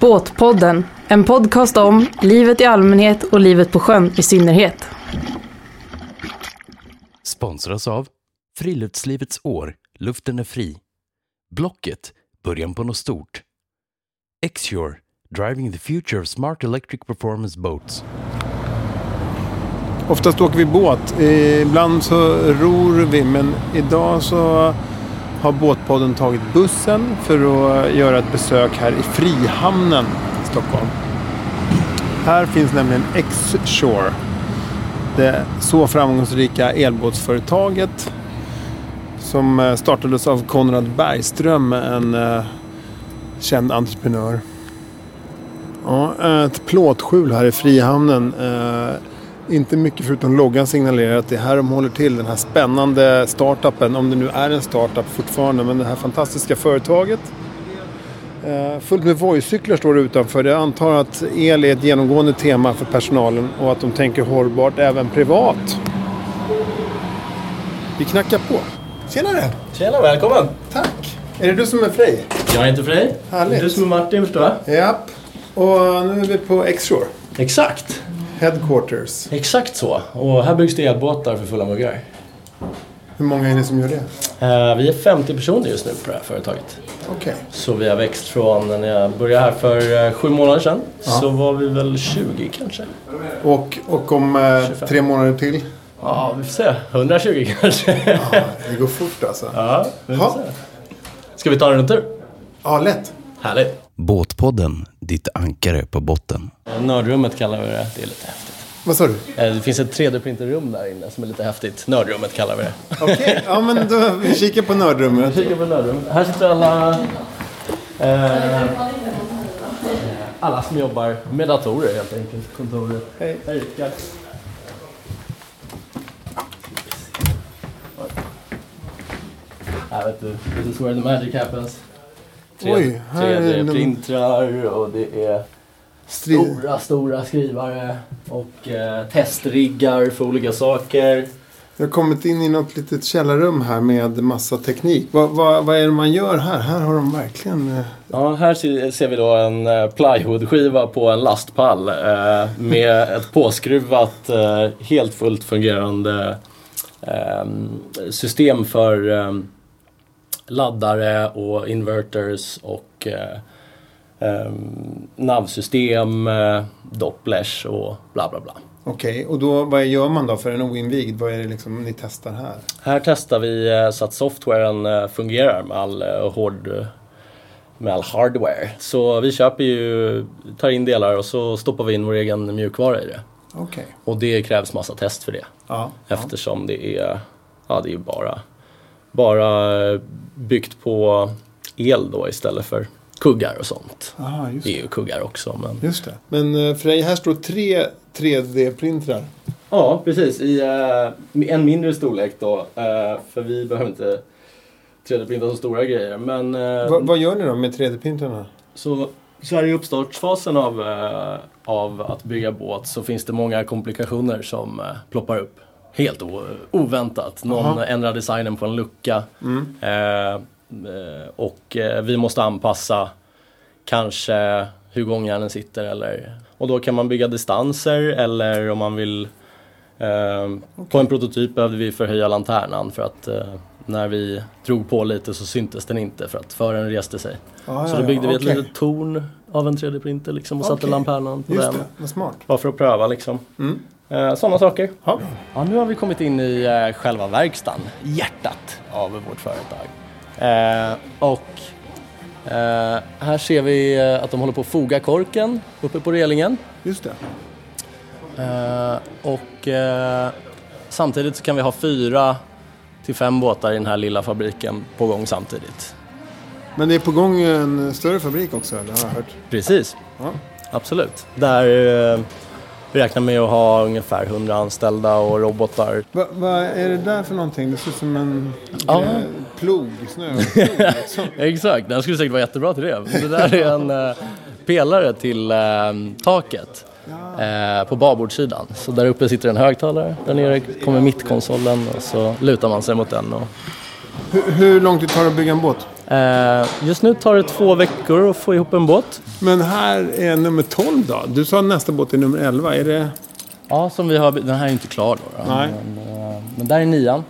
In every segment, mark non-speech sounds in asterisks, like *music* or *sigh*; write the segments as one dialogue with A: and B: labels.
A: Båtpodden, en podcast om livet i allmänhet och livet på sjön i synnerhet.
B: Sponsras av Friluftslivets år, luften är fri. Blocket, början på något stort. Exure, driving the future of smart electric performance boats.
C: Oftast åker vi båt. Ibland så ror vi, men idag så har Båtpodden tagit bussen för att göra ett besök här i Frihamnen i Stockholm. Här finns nämligen X-Shore. Det så framgångsrika elbåtsföretaget som startades av Konrad Bergström, en eh, känd entreprenör. Ja, ett plåtskjul här i Frihamnen. Eh, inte mycket förutom loggan signalerar att det är här de håller till. Den här spännande startupen, om det nu är en startup fortfarande, men det här fantastiska företaget. Eh, fullt med Voi-cyklar står det utanför. Jag antar att el är ett genomgående tema för personalen och att de tänker hållbart även privat. Vi knackar på. Tjenare!
D: Tjena, välkommen!
C: Tack! Är det du som är Frej?
D: Jag heter Frej.
C: Härligt.
D: Du som är Martin, förstår jag.
C: Japp. Och nu är vi på X-Shore.
D: Exakt!
C: Headquarters.
D: Exakt så. Och här byggs det elbåtar för fulla muggar.
C: Hur många är ni som gör det?
D: Eh, Vi är 50 personer just nu på det här företaget.
C: Okej.
D: Så vi har växt från när jag började här för eh, sju månader sedan. Så var vi väl 20 kanske.
C: Och, och om eh, tre månader till?
D: Ja, vi får se. 120 *laughs* kanske.
C: Det går fort alltså.
D: Ja, vi får
C: Ja.
D: se. Ska vi ta en tur?
C: Ja, lätt.
D: Härligt.
B: Båtpodden, ditt ankare på botten.
D: Eh, Nördrummet kallar vi det. Det är lite häftigt.
C: Vad sa du?
D: Eh, Det finns ett 3D-printerrum där inne som är lite häftigt. Nördrummet kallar vi det.
C: Okej, *laughs* ja men då vi kikar på nördrummet.
D: Kika på nödrummet. Här sitter alla... Eh, alla som jobbar med datorer helt enkelt. Kontoret.
C: Hej.
D: Hej Rickard. Jag vet du, this is where the magic happens.
C: Oj, här är det någon-
D: 3D-printrar och det är
C: Strid.
D: stora, stora skrivare och eh, testriggar för olika saker.
C: Jag har kommit in i något litet källarrum här med massa teknik. Vad, vad, vad är det man gör här? Här har de verkligen... eh,
D: Ja, här se- ser vi då en eh, plywoodskiva på en lastpall eh, med ett påskruvat, eh, helt fullt fungerande eh, system för eh, laddare och inverters och eh, eh, navsystem, eh, dopplers och bla bla bla.
C: Okej, och då vad gör man då för en oinvigd? Vad är det liksom ni testar här?
D: Här testar vi eh, så att softwaren eh, fungerar med all eh, hård med all hardware. Så vi köper ju, tar in delar och så stoppar vi in vår egen mjukvara i det.
C: Okej.
D: Och det krävs massa test för det.
C: Ja.
D: Eftersom det är, ja det är ju bara, bara eh, byggt på el då istället för kuggar och sånt.
C: Aha, just
D: Det
C: det.
D: är ju kuggar också men.
C: Just det. Men eh, Frej, här står tre 3D-printrar.
D: Ja, precis. I eh, en mindre storlek då. eh, för vi behöver inte 3D-printa så stora grejer. Men, eh,
C: Va, vad gör ni då med 3D-printrarna?
D: så, så här i uppstartsfasen av, eh, av att bygga båt så finns det många komplikationer som eh, ploppar upp. Helt o- oväntat. Någon ändrar designen på en lucka. Eh, eh, och eh, vi måste anpassa kanske hur gångjärnen sitter. Eller, och då kan man bygga distanser eller om man vill Eh, På en prototyp behövde vi förhöja lanternan för att eh, när vi drog på lite så syntes den inte för att fören reste sig.
C: Ah,
D: så då byggde vi ett
C: okej.
D: litet torn av en 3D-printer liksom och satte
C: Okej.
D: lanternan på
C: Just
D: den.
C: det, vad smart.
D: Bara för att pröva liksom. Eh, Sådana saker.
C: Ja.
D: Ja, nu har vi kommit in i eh, själva verkstaden, hjärtat av vårt företag. Eh, och eh, här ser vi eh, att de håller på att foga korken uppe på relingen.
C: Just det.
D: Eh, och eh, samtidigt så kan vi ha fyra till fem båtar i den här lilla fabriken på gång samtidigt.
C: Men det är på gång en större fabrik också, eller har jag hört?
D: Precis.
C: Ja.
D: Absolut. Där eh, vi räknar med att ha ungefär 100 anställda och robotar.
C: Va- Vad är det där för någonting? Det ser ut som en
D: Ja.
C: eh, plog, snöplog. liksom.
D: *laughs* Exakt, den skulle säkert vara jättebra till det. Det där är en eh, pelare till eh, taket eh, på babordssidan. Så där uppe sitter en högtalare, där nere kommer mittkonsolen och så lutar man sig mot den. Och
C: hur, hur lång tid tar det att bygga en båt?
D: Eh, just nu tar det två veckor att få ihop en båt.
C: Men här är nummer 12 då. Du sa nästa båt är nummer 11. Är det...
D: Ja, som vi har... Den här är inte klar då. då.
C: Nej.
D: Men, eh, men där är nian.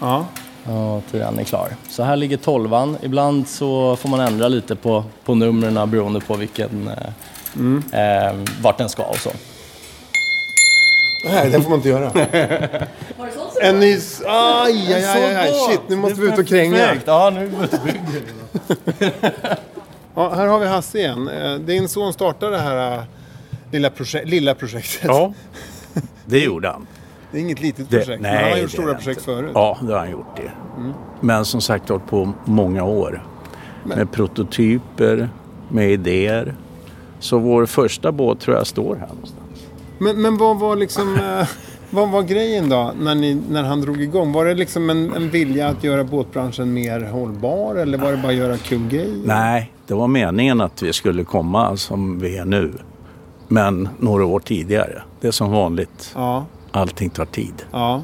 C: Ja.
D: Och tian är klar. Så här ligger tolvan. Ibland så får man ändra lite på, på numren beroende på vilken... Eh, eh, vart den ska och så.
C: Nej, det får man inte göra. en ny... s- Aj, aj, aj, aj, aj. Shit, nu måste vi ut och kränga.
D: Ja, nu...
C: Ja, här har vi Hasse igen. Eh, Din son startade det här eh, lilla, projek- lilla projektet.
E: Ja, det gjorde han.
C: Det är inget litet
E: Det,
C: projekt. men han har
E: nej,
C: gjort
E: det
C: stora
E: är
C: projekt
E: inte.
C: förut.
E: Ja, det har han gjort det. Men som sagt har på många år. Med prototyper, med idéer. Så vår första båt tror jag står här någonstans.
C: Men, men vad var liksom... eh, Vad var grejen då när, ni, när han drog igång? Var det liksom en, en vilja att göra båtbranschen mer hållbar eller var det bara att göra kul grejer?
E: Nej, det var meningen att vi skulle komma som vi är nu. Men några år tidigare. Det är som vanligt.
C: Ja,
E: Allting tar tid.
C: ja.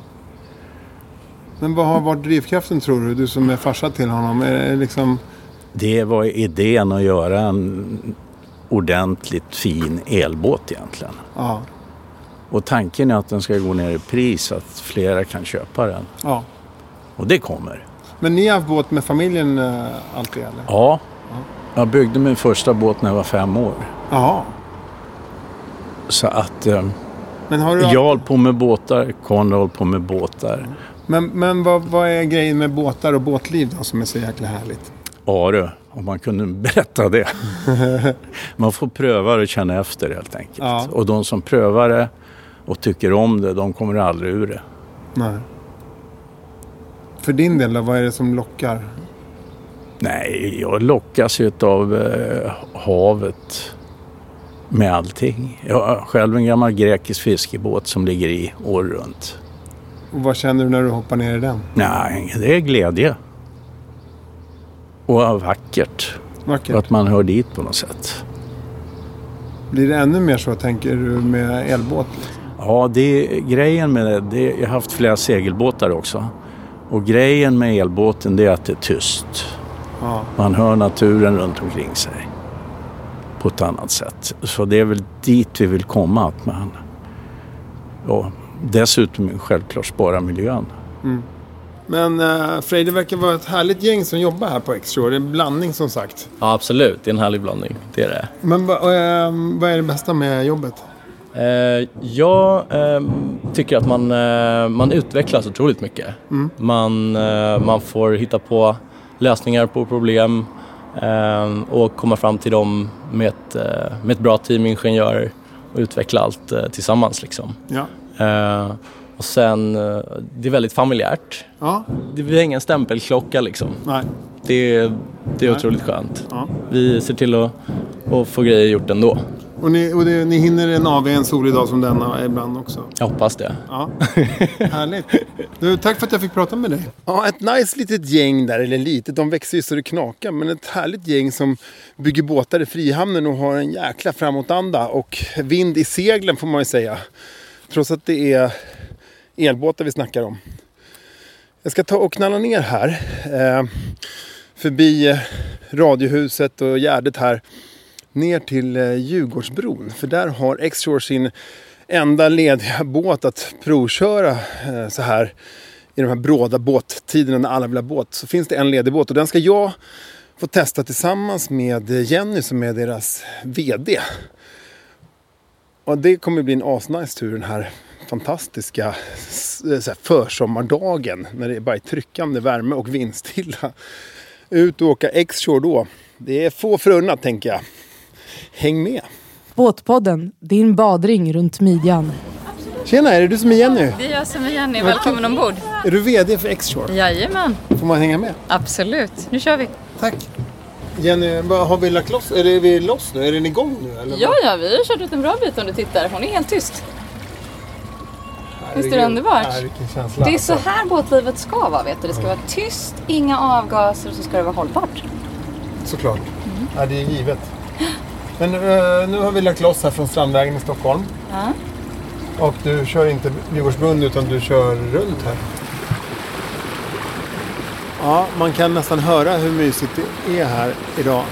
C: Men vad har varit drivkraften tror du? Du som är farsa till honom. Är det liksom...
E: Det var idén att göra en ordentligt fin elbåt egentligen.
C: Ja.
E: Och tanken är att den ska gå ner i pris, att flera kan köpa den.
C: ja.
E: Och det kommer.
C: Men ni har haft båt med familjen eh, alltid eller?
E: Ja. Jag byggde min första båt när jag var fem år.
C: Jaha.
E: Så att eh,
C: Men har du...
E: jag håller på med båtar, Conrad håller på med båtar.
C: Men, men vad, vad är grejen med båtar och båtliv då som är så jäkla härligt?
E: Are, om man kunde *laughs* berätta det. man får pröva det och känna efter helt enkelt.
C: Ja.
E: Och de som prövar det och tycker om det, de kommer aldrig ur det.
C: Nej. För din del då, vad är det som lockar?
E: Nej, jag lockas ju av eh, havet med allting. Jag har själv en gammal grekisk fiskebåt som ligger i år runt.
C: Och vad känner du när du hoppar ner i den?
E: Nej, det är glädje. Och ja, vackert.
C: Vackert.
E: Att man hör dit på något sätt.
C: Blir det ännu mer så tänker du med elbåt?
E: Ja, det, grejen med det, det... Jag har haft flera segelbåtar också. Och grejen med elbåten det är att det är tyst.
C: Ja.
E: Man hör naturen runt omkring sig på ett annat sätt. Så det är väl dit vi vill komma. Att man, ja, dessutom självklart spara miljön.
C: Men eh, Frej, det verkar vara ett härligt gäng som jobbar här på Exshore. Det är en blandning som sagt.
D: Ja, absolut. Det är en härlig blandning. Det är det.
C: Men va, eh, vad är det bästa med jobbet?
D: Eh, jag eh, tycker att man, eh, man utvecklas otroligt mycket. Man, eh, man får hitta på lösningar på problem eh, och komma fram till dem med ett, eh, med ett bra team ingenjörer och utveckla allt eh, tillsammans. Liksom.
C: Ja.
D: Eh, och sen, eh, det är väldigt familjärt.
C: Ja.
D: Det blir ingen stämpelklocka liksom.
C: Nej.
D: Det, är- det är otroligt skönt.
C: Ja.
D: Vi ser till att, att få grejer gjort ändå.
C: Och ni, och det, ni hinner en av en solig dag som denna ibland också?
D: Jag hoppas det.
C: *laughs* Ja, härligt. Du, tack för att jag fick prata med dig. Ja, ett nice litet gäng där, eller litet, de växer ju så det knakar. Men ett härligt gäng som bygger båtar i Frihamnen och har en jäkla framåtanda och vind i seglen får man ju säga. Trots att det är elbåtar vi snackar om. Jag ska ta och knalla ner här. Eh, förbi eh, Radiohuset och Gärdet här ner till eh, Djurgårdsbron. För där har Xshore sin enda lediga *laughs* båt att provköra eh, så här i de här bråda båttiderna när alla vill ha båt. Så finns det en ledig båt och den ska jag få testa tillsammans med Jenny som är deras VD. Och det kommer bli en asnice tur den här fantastiska s- så här försommardagen när det är bara är tryckande värme och vindstilla. Ut och åka Xshore då. Det är få förunnat tänker jag. Häng med!
F: Båtpodden, din badring runt midjan.
C: Tjena, är det du som är Jenny?
G: Det är jag som är Jenny, välkommen ombord.
C: Är du VD för Xshore?
G: Jajamän,
C: Får man hänga med?
G: absolut. Nu kör vi.
C: Tack! Jenny, vad har vi lagt loss? Är, det, är vi loss nu? Är den igång nu? Eller
G: Ja, ja, vi har kört ut en bra bit om du tittar. Hon är helt tyst. visst är det underbart?
C: Nej, vilken känsla.
G: Det är så här båtlivet ska vara, vet du. Det ska vara tyst, inga avgaser och så ska det vara hållbart.
C: Såklart. Ja, det är givet. Men eh, nu har vi lagt loss här från Strandvägen i Stockholm.
G: Ja.
C: Och du kör inte Djurgårdsbron utan du kör runt här. Ja, man kan nästan höra hur mysigt det är här idag.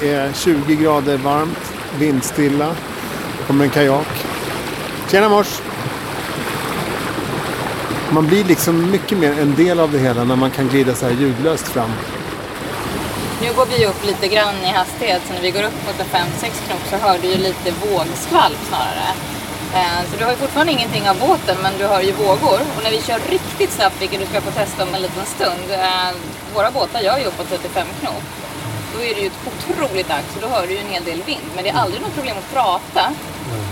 C: Det är 20 grader varmt, vindstilla. Det kommer en kajak. Tjena mors! Man blir liksom mycket mer en del av det hela när man kan glida så här ljudlöst fram.
G: Nu går vi upp lite grann i hastighet, så när vi går upp mot en 5-6 knop så hör du ju lite vågskvalp snarare. Eh, Så du har ju fortfarande ingenting av båten, men du hör ju vågor. Och när vi kör riktigt snabbt, vilket du ska få testa om en liten stund, eh, våra båtar gör ju uppåt 35 knop. Då är det ju ett otroligt ax och då hör du ju en hel del vind. Men det är aldrig något problem att prata.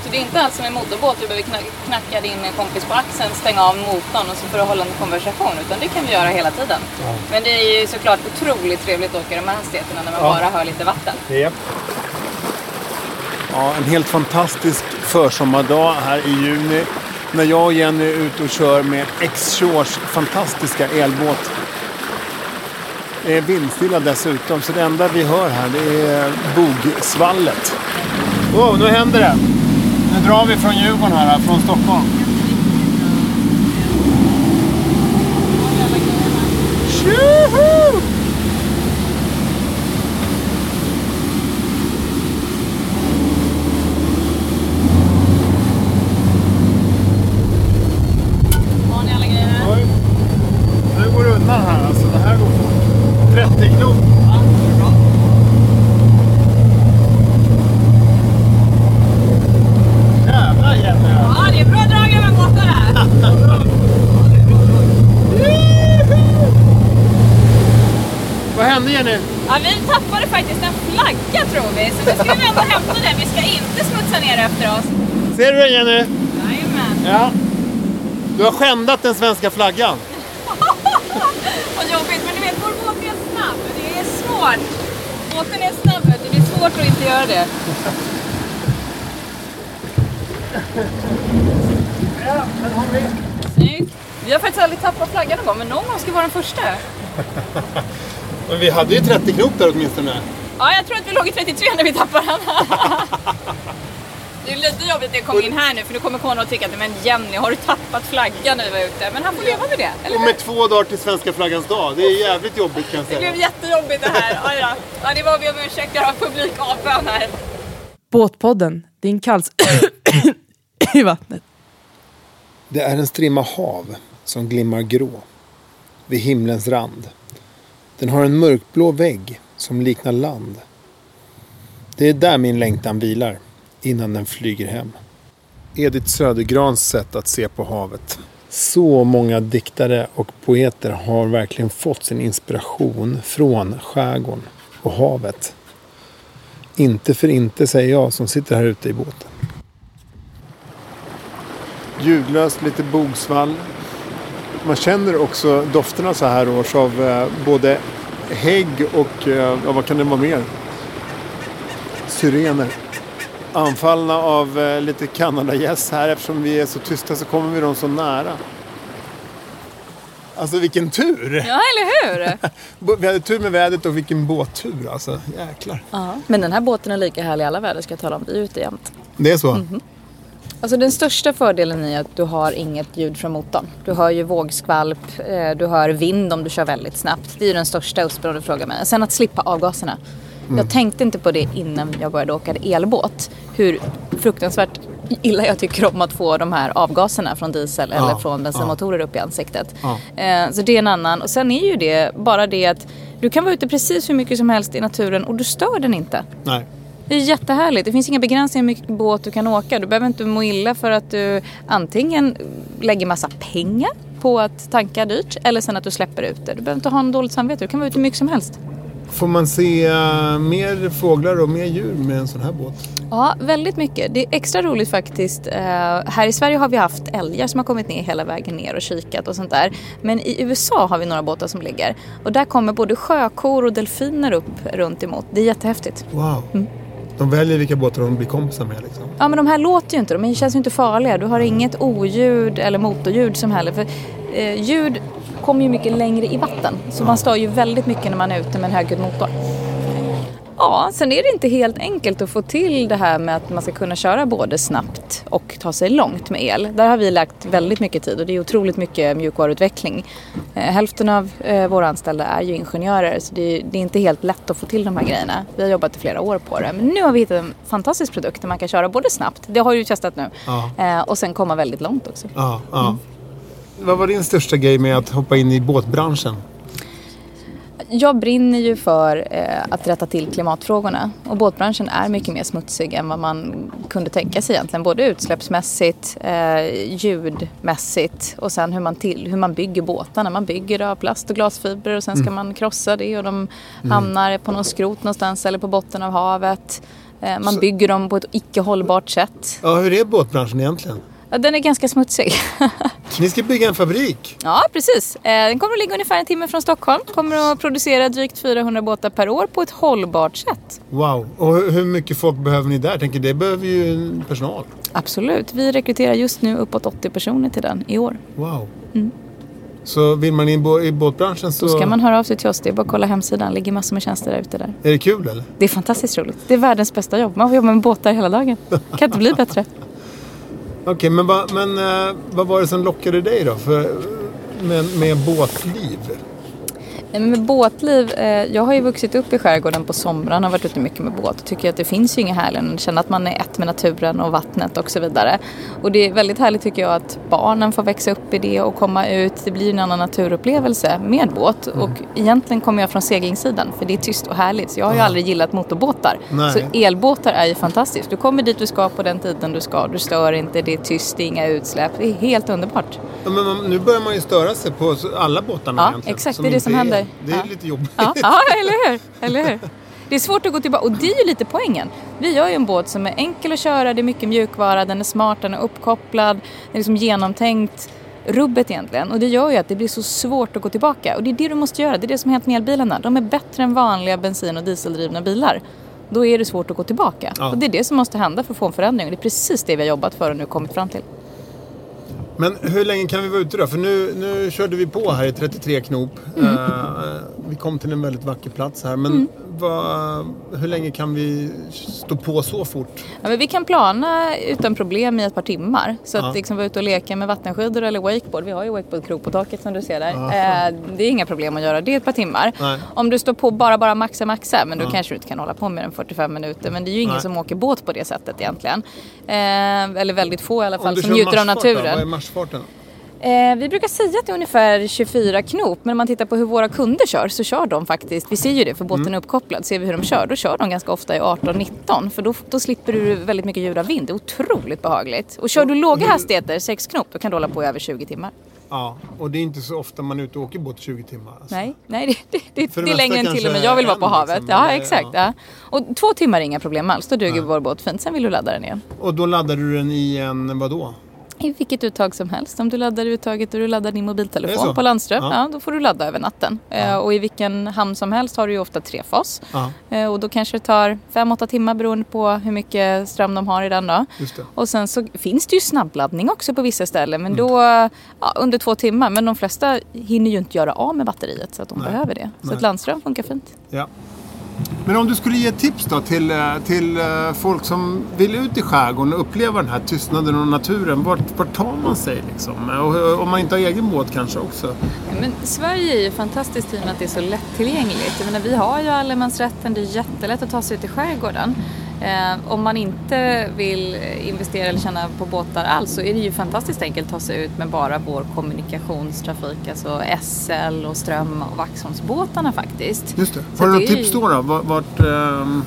G: Så det är inte alls som en motorbåt, du behöver kna- knacka din kompis på axeln, stänga av motorn och så får du hålla en konversation. Utan det kan vi göra hela tiden. Men det är ju såklart otroligt trevligt att åka de här hastigheterna när man bara hör lite vatten.
C: Ja, en helt fantastisk försommardag här i juni. När jag och Jenny är ute och kör med X-Shores fantastiska elbåt. Det är vindstilla dessutom, så det enda vi hör här det är bogsvallet. Wow, nu händer det! Nu drar vi från Djurgården här, från Stockholm. Tjoho!
G: Har ni alla grejer här?
C: Oj. Nu går det undan här alltså. Det här går fort. 30 knop. Jävlar Jenny!
G: Ja, det är bra drag över båtar här.
C: Vad hände Jenny?
G: Ja, vi tappade faktiskt en flagga tror vi, så nu ska vi ändå hämta den. Vi ska inte smutsa ner efter oss.
C: Ser du den Jenny?
G: Jajamän.
C: Ja. Du har skändat den svenska flaggan.
G: Vad jobbigt, men du vet, vår båt är snabb. Det är svårt. Båten är snabb, vet du. det är svårt att inte göra det. Snyggt. Vi har faktiskt aldrig tappat flaggan någon gång, men någon gång ska vara den första.
C: Men vi hade ju 30 knop där åtminstone.
G: Ja, jag tror att vi låg i 33 när vi tappade den. Det är lite jobbigt att jag kom in här nu för nu kommer Conrad tycka att men Jenny har du tappat flaggan när vi var ute? Men han får leva med det. Eller?
C: Och med två dagar till svenska flaggans dag. Det är jävligt jobbigt kan jag
G: Det blev
C: säga.
G: jättejobbigt det här. Ja, ja. ja det var vi om ursäkt, jag har publikavbön här.
F: Båtpodden, din kals *coughs* i vattnet.
C: Det är en strimma hav som glimmar grå vid himlens rand. Den har en mörkblå vägg som liknar land. Det är där min längtan vilar innan den flyger hem. Edith Södergrans sätt att se på havet. Så många diktare och poeter har verkligen fått sin inspiration från skärgården och havet. Inte för inte säger jag som sitter här ute i båten. Ljudlöst, lite bogsvall. Man känner också dofterna så här års av eh, både hägg och eh, ja, vad kan det vara mer? Syrener. Anfallna av eh, lite kanadagäss här eftersom vi är så tysta så kommer vi dem så nära. Alltså vilken tur!
G: Ja, eller hur?
C: Bo- Vi hade tur med vädret och vilken båttur alltså. Jäklar.
G: *laughs* Ja. Men den här båten är lika härlig i alla väder ska jag tala om. Vi är ute jämt.
C: Det är så?
G: Alltså den största fördelen är att du har inget ljud från motorn. Du hör ju vågskvalp, eh, du hör vind om du kör väldigt snabbt. Det är ju den största USPen om du frågar mig. Sen att slippa avgaserna. Jag tänkte inte på det innan jag började åka elbåt. Hur fruktansvärt illa jag tycker om att få de här avgaserna från diesel eller från bensinmotorer upp i ansiktet. Eh, Så det är en annan. Och sen är ju det bara det att du kan vara ute precis hur mycket som helst i naturen och du stör den inte.
C: Nej.
G: Det är jättehärligt. Det finns inga begränsningar hur mycket båt du kan åka. Du behöver inte må illa för att du antingen lägger massa pengar på att tanka dyrt eller sen att du släpper ut det. Du behöver inte ha en dåligt samvete. Du kan vara ute hur mycket som helst.
C: Får man se eh, mer fåglar och mer djur med en sån här båt?
G: Ja, väldigt mycket. Det är extra roligt faktiskt. Eh, här i Sverige har vi haft älgar som har kommit ner hela vägen ner och kikat och sånt där. Men i USA har vi några båtar som ligger och där kommer både sjökor och delfiner upp runt emot. Det är jättehäftigt.
C: Wow.
G: Mm.
C: De väljer vilka båtar de blir kompisar med liksom.
G: Ja men de här låter ju inte, de känns ju inte farliga. Du har inget oljud eller motorljud som heller. För eh, ljud kommer ju mycket längre i vatten. Så man stör ju väldigt mycket när man är ute med en högljudd motor. Ja, sen är det inte helt enkelt att få till det här med att man ska kunna köra både snabbt och ta sig långt med el. Där har vi lagt väldigt mycket tid och det är otroligt mycket mjukvaruutveckling. Eh, Hälften av eh, våra anställda är ju ingenjörer så det är, det är inte helt lätt att få till de här grejerna. Vi har jobbat i flera år på det men nu har vi hittat en fantastisk produkt där man kan köra både snabbt, det har ju testat nu,
C: Ja.
G: eh, och sen komma väldigt långt också.
C: Ja, ja. Mm. Vad var din största grej med att hoppa in i båtbranschen?
G: Jag brinner ju för eh, att rätta till klimatfrågorna och båtbranschen är mycket mer smutsig än vad man kunde tänka sig egentligen. Både utsläppsmässigt, eh, ljudmässigt och sen hur man, till, hur man bygger båtarna. Man bygger det av plast och glasfibrer och sen ska man krossa det och de hamnar på någon skrot någonstans eller på botten av havet. Eh, man bygger dem på ett icke hållbart sätt.
C: Ja, hur är båtbranschen egentligen?
G: Ja, Den är ganska smutsig. *laughs*
C: Ni ska bygga en fabrik.
G: Ja, precis. Eh, Den kommer att ligga ungefär en timme från Stockholm. Kommer att producera drygt 400 båtar per år på ett hållbart sätt.
C: Wow. Och hur hur mycket folk behöver ni där? Tänker, det behöver ju personal.
G: Absolut. Vi rekryterar just nu uppåt 80 personer till den i år.
C: Wow. Så vill man in bo- i båtbranschen så...
G: Mm. Då ska man höra av sig till oss. Det är bara att kolla hemsidan. Det ligger massor med tjänster där ute där.
C: Är det kul eller?
G: Det är fantastiskt roligt. Det är världens bästa jobb. Man får jobba med båtar hela dagen. Kan inte bli bättre.
C: Okej, men, va, men eh, vad var det som lockade dig då? För, med, med båtliv?
G: Nej, men Med båtliv, eh, jag har ju vuxit upp i skärgården på somrarna och varit ute mycket med båt och tycker att det finns ju inget härligare än att känna att man är ett med naturen och vattnet och så vidare. Och det är väldigt härligt tycker jag att barnen får växa upp i det och komma ut. Det blir ju en annan naturupplevelse med båt och egentligen kommer jag från seglingssidan för det är tyst och härligt. Så jag har ju aldrig gillat motorbåtar.
C: Nej.
G: Så elbåtar är ju fantastiskt. Du kommer dit du ska på den tiden du ska. Du stör inte, det är tyst, det är inga utsläpp. Det är helt underbart.
C: Ja, men man, nu börjar man ju störa sig på så- alla båtarna
G: Ja,
C: egentligen.
G: exakt, det är det
C: inte
G: som händer.
C: Det är
G: Ja.
C: lite jobbigt.
G: Ja, ja eller, hur? eller hur? Det är svårt att gå tillbaka och det är ju lite poängen. Vi gör ju en båt som är enkel att köra, det är mycket mjukvara, den är smart, den är uppkopplad, den är liksom genomtänkt. Rubbet egentligen och det gör ju att det blir så svårt att gå tillbaka och det är det du måste göra, det är det som har hänt med elbilarna. De är bättre än vanliga bensin och dieseldrivna bilar. Då är det svårt att gå tillbaka
C: Ja.
G: och det är det som måste hända för att få en förändring och det är precis det vi har jobbat för och nu kommit fram till.
C: Men hur länge kan vi vara ute då? För nu, nu körde vi på här i 33 knop.
G: Mm.
C: Eh, vi kom till en väldigt vacker plats här. Men vad, hur länge kan vi stå på så fort?
G: Ja, men vi kan plana utan problem i ett par timmar. Så att
C: Ja.
G: liksom vara ute och leka med vattenskidor eller wakeboard. Vi har ju wakeboardkrok på taket som du ser där.
C: Aha.
G: Eh, det är inga problem att göra det i ett par timmar.
C: Nej.
G: Om du står på bara, bara maxa, maxa. Men då kanske du inte kan hålla på mer än 45 minuter. Men det är ju ingen
C: Nej.
G: som åker båt på det sättet egentligen. Eh, eller väldigt få i alla fall
C: du
G: som
C: kör
G: njuter av
C: marschfart Då, vad är
G: naturen.
C: marschfarten?
G: Eh, vi brukar säga att det är ungefär 24 knop. Men om man tittar på hur våra kunder kör så kör de faktiskt. Vi ser ju det för båten
C: Mm.
G: är uppkopplad. Ser vi hur de kör då kör de ganska ofta i 18-19. För då, då slipper du väldigt mycket ljud av vind. Det är otroligt behagligt. Och kör du
C: Mm.
G: låga hastigheter, 6 knop, då kan du hålla på i över 20 timmar.
C: Ja, och det är inte så ofta man är ute och åker båt 20 timmar. Alltså.
G: Nej, nej det, det, det,
C: För
G: det,
C: det
G: är längre
C: mesta
G: än till och med
C: kanske
G: jag vill vara på
C: en,
G: havet.
C: liksom,
G: ja,
C: eller-
G: exakt. Ja. Och två timmar är inga problem alls. Då duger vår båt fint. Sen vill du ladda den igen.
C: Och då laddade du den i en, vadå?
G: I vilket uttag som helst. Om du laddar uttaget och du laddar din
C: Är det
G: mobiltelefon
C: så?
G: på landström, ja.
C: Ja.
G: då får du ladda över natten. Eh, och i vilken hamn som helst har du ju ofta trefas.
C: Ja,
G: Eh, och då kanske det tar 5-8 timmar beroende på hur mycket ström de har i den då.
C: just det.
G: Och sen så finns det ju snabbladdning också på vissa ställen,
C: Mm.
G: men då ja, under två timmar. Men de flesta hinner ju inte göra av med batteriet så att de behöver det. Så
C: Nej.
G: att landström funkar fint.
C: Ja. Men om du skulle ge tips då till, eh, till eh, folk som vill ut i skärgården och uppleva den här tystnaden och naturen. Vart, vart tar man sig liksom? Och eh, om man inte har egen båt kanske också.
G: Men Sverige är ju fantastiskt i och med att det är så lättillgängligt. Jag menar, vi har ju allemansrätten, det är jättelätt att ta sig ut i skärgården. Eh, om man inte vill investera eller tjäna på båtar alls så är det ju fantastiskt enkelt att ta sig ut med bara vår kommunikationstrafik, alltså SL och Ström och Vaxholmsbåtarna faktiskt.
C: Just det.
G: Så
C: Har du
G: det
C: något
G: är ju-
C: tips då? då? Vart, vart, ehm,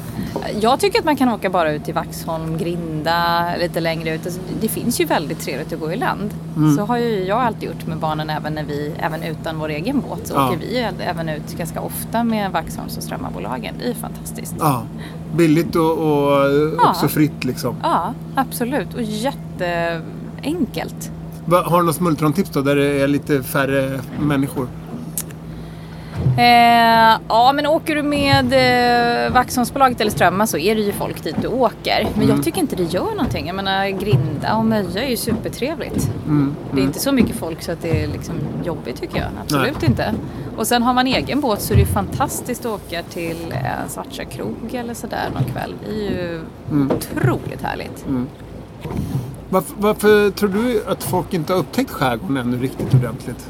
G: Jag tycker att man kan åka bara ut till Vaxholm, Grinda, lite längre ut. Alltså, Det finns ju väldigt trevligt att gå i land.
C: Mm.
G: Så har ju jag alltid gjort med barnen även, när vi, även utan vår egen båt. Så
C: Ja.
G: åker vi ju även ut ganska ofta med Vaxholms och Strömmabolagen. Det är ju fantastiskt.
C: ja, billigt och, och eh,
G: Ja.
C: också fritt liksom.
G: Ja, absolut. Och jätteenkelt.
C: Va, har du något smultrontips då där det är lite färre människor?
G: Eh, ja, men åker du med eh, Vaxholmsbolaget eller Strömma så är det ju folk dit du åker. Men jag tycker inte det gör någonting. Jag menar, Grinda och Möja är ju supertrevligt. Det är inte så mycket folk så att det är liksom jobbigt tycker jag. Absolut inte. Och sen har man egen båt så är det ju fantastiskt att åka till eh, Svartsjö krog eller sådär någon kväll. Det är ju otroligt härligt.
H: Varför, varför tror du att folk inte har upptäckt skärgården ännu riktigt ordentligt?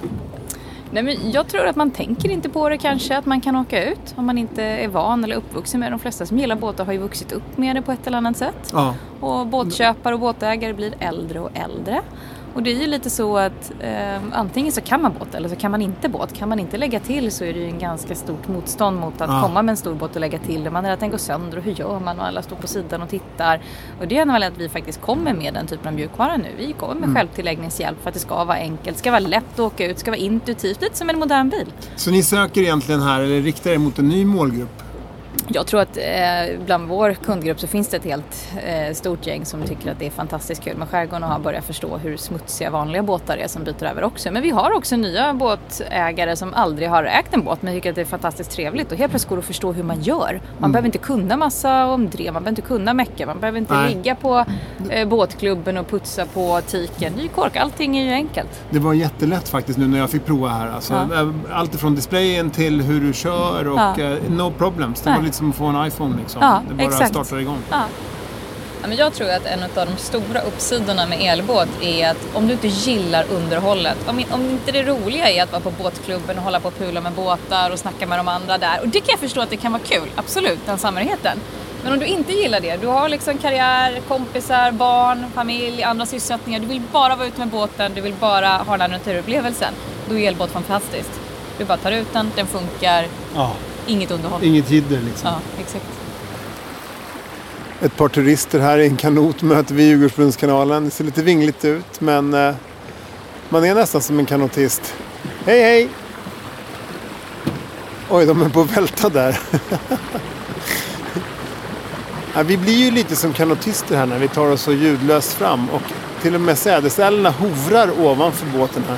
G: Nej, men jag tror att man tänker inte på det kanske, att man kan åka ut om man inte är van eller uppvuxen med det. De flesta som gillar båtar har ju vuxit upp med det på ett eller annat sätt.
H: Ja.
G: Och båtköpare och båtägare blir äldre och äldre. Och det är ju lite så att eh, antingen så kan man båt eller så kan man inte båt. Kan man inte lägga till så är det ju en ganska stort motstånd mot att
H: Ja.
G: komma med en stor båt och lägga till det. Man är att den går sönder och hur gör man? Och alla står på sidan och tittar. Och det är en väl att vi faktiskt kommer med den typen av mjukvara nu. Vi kommer med självtilläggningshjälp för att det ska vara enkelt, ska vara lätt att åka ut, ska vara intuitivt, lite som en modern bil.
H: Så ni söker egentligen här, eller riktar er mot en ny målgrupp?
G: Jag tror att eh, bland vår kundgrupp så finns det ett helt eh, stort gäng som tycker att det är fantastiskt kul med skärgården och har börjat förstå hur smutsiga vanliga båtar är som byter över också. Men vi har också nya båtägare som aldrig har ägt en båt men tycker att det är fantastiskt trevligt och helt plötsligt går det att förstå hur man gör. Man behöver inte kunna massa om drev, man behöver inte kunna mecka, man behöver inte
H: Nej.
G: ligga på eh, båtklubben och putsa på tiken, ny kork, allting är ju enkelt.
H: Det var jättelätt faktiskt nu när jag fick prova här. Alltså,
G: Ja.
H: Allt ifrån displayen till hur du kör och
G: Ja.
H: eh, no problems. Det
G: Nej.
H: var lite som att få en iPhone liksom.
G: Ja,
H: det bara
G: exakt.
H: startar igång.
G: Ja, men jag tror att en av de stora uppsidorna med elbåt är att om du inte gillar underhållet, om, om inte det roliga är att vara på båtklubben och hålla på och pula med båtar och snacka med de andra där, och det kan jag förstå att det kan vara kul, absolut, den samhörigheten. Men om du inte gillar det, du har liksom karriär, kompisar, barn, familj, andra sysselsättningar, du vill bara vara ute med båten, du vill bara ha den här naturupplevelsen, då är elbåt fantastiskt. Du bara tar ut den, den funkar,
H: Ja,
G: inget underhåll.
H: inget jidder liksom.
G: Ja, exakt.
C: Ett par turister här i en kanot möter vi Djurgårdsbrunnskanalen. Det ser lite vingligt ut men eh, man är nästan som en kanotist. Hej hej! Oj, de är på att välta där. *laughs* ja, vi blir ju lite som kanotister här när vi tar oss så ljudlöst fram och till och med sädesälgarna hovrar ovanför båten här.